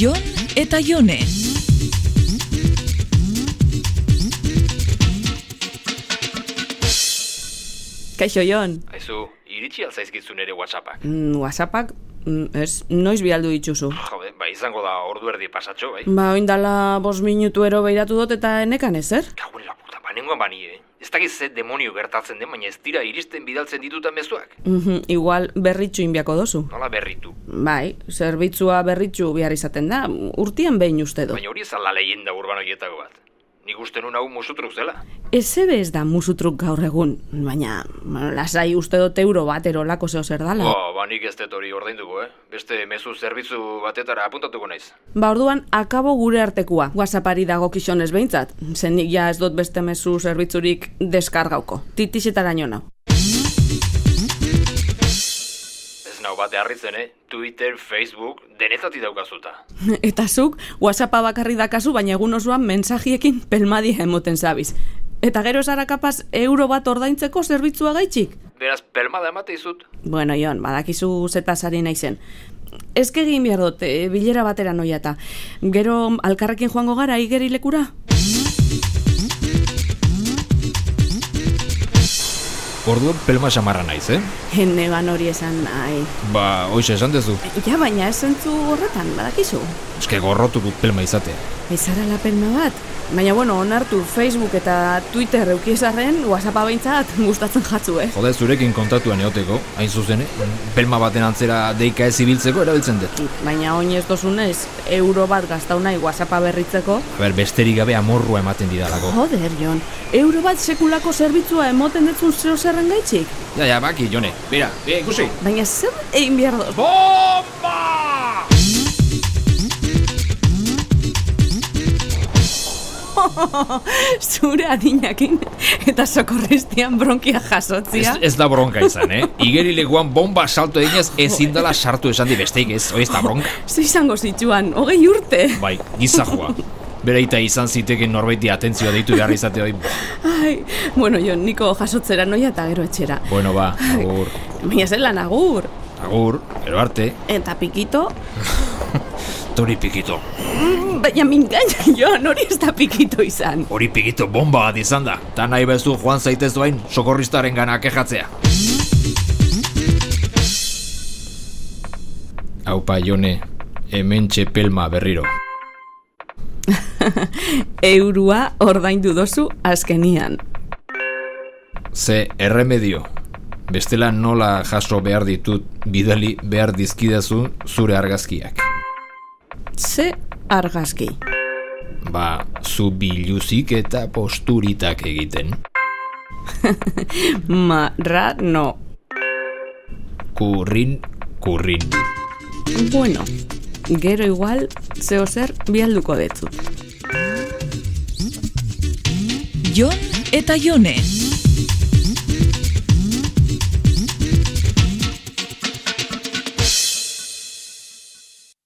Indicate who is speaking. Speaker 1: Jon eta Jone.
Speaker 2: Kaixo, Jon.
Speaker 3: Aizu, iritsi altzaizkizu nere WhatsAppak.
Speaker 2: Mm, Whatsappak, mm, ez, noiz bialdu dituzu.
Speaker 3: Jode, ba, izango da ordu erdi pasatxo, bai?
Speaker 2: Ba, oindala bost minutu ero behiratu dut eta enekan ezer?
Speaker 3: Kauen la puta, banengoan bani, eh? Ez dakiz ze demonio gertatzen den, baina ez dira iristen bidaltzen ditutan mezuak.
Speaker 2: Mhm, igual berritxu inbiako dozu.
Speaker 3: Nola berritu.
Speaker 2: Bai, zerbitzua berritxu behar izaten da, urtien behin uste do.
Speaker 3: Baina hori ezala leyenda urban horietako bat. Nik uste nun hau musutruk zela.
Speaker 2: Ezebe ez da musutruk gaur egun, baina bueno, lasai uste dut euro bat erolako zeo zer dala.
Speaker 3: Ba, ba nik ez dut hori ordainduko, eh? Beste mezu zerbitzu batetara apuntatuko naiz.
Speaker 2: Ba orduan, akabo gure artekua, whatsappari dago kixonez behintzat, zenik ja ez dut beste mezu zerbitzurik deskargauko, titixetaraino nau.
Speaker 3: Ez nau bate harritzen, eh? Twitter, Facebook, denetatik daukazuta.
Speaker 2: Eta zuk, whatsappa bakarri dakazu, baina egun osoan mensajiekin pelmadia emoten zabiz. Eta gero esara kapaz euro bat ordaintzeko zerbitzua gaitxik?
Speaker 3: Beraz, pelmada emate izut.
Speaker 2: Bueno, Jon, badakizu zetasari naizen. Ez egin behar dut, eh, bilera batera noia eta. Gero alkarrekin joango gara igerilekura?
Speaker 3: Orduan pelma samarra naiz, eh?
Speaker 2: Negan hori esan nahi.
Speaker 3: Ba, hoxe esan dezu.
Speaker 2: Ja, baina ez zentzu horretan, badakizu.
Speaker 3: Eske gorrotu dut pelma izatea.
Speaker 2: Ezara lapelma bat. Baina, bueno, onartu Facebook eta Twitter eukiezarren, WhatsAppa behintzat gustatzen jatzu, eh?
Speaker 3: Jode, zurekin kontatuan eoteko, hain zuzen, eh? pelma baten antzera deika ez ibiltzeko erabiltzen dut.
Speaker 2: Baina oin ez dozunez, euro bat gaztau nahi whatsappa berritzeko.
Speaker 3: Aber, besterik gabe amorrua ematen didalako.
Speaker 2: Joder, Jon, euro bat sekulako zerbitzua emoten detzun zeo zerren gaitxik.
Speaker 3: Ja, ja, baki, jone, bera, e, ikusi!
Speaker 2: Baina zer egin behar dut?
Speaker 3: Bomba!
Speaker 2: Zure adinakin eta sokorristian bronkia
Speaker 3: Ez,
Speaker 2: jasotzia.
Speaker 3: ez da bronka izan, eh? Igerileguan bomba salto eginez ezin dala sartu esan di besteik ez, hoi ez da bronka.
Speaker 2: Zu izango zituan, hogei urte.
Speaker 3: Bai, gizajoa. Bereita izan ziteken norbaiti atentzioa deitu behar izate hoi.
Speaker 2: Ai, bueno, Jon, niko jasotzera noia eta gero etxera.
Speaker 3: Bueno, ba, agur,
Speaker 2: Baina zer lan agur.
Speaker 3: agur, ero arte,
Speaker 2: Eta pikito,
Speaker 3: tori pikito.
Speaker 2: baina mingaina, Jon, hori ez da pikito izan.
Speaker 3: Hori pikito bomba bat izan da. Ta nahi bezu joan zaitez duain sokorristaren gana kejatzea. Aupa jone, hemen txepelma berriro.
Speaker 2: Eurua ordaindu dozu azkenian.
Speaker 3: Ze erremedio. Bestela nola jaso behar ditut bidali behar dizkidazu zure argazkiak.
Speaker 2: Ze argazki.
Speaker 3: Ba, zu biluzik eta posturitak egiten.
Speaker 2: Marra no.
Speaker 3: Kurrin, kurrin.
Speaker 2: Bueno, gero igual zeo zer bialduko detzut.
Speaker 1: Jon eta Jone.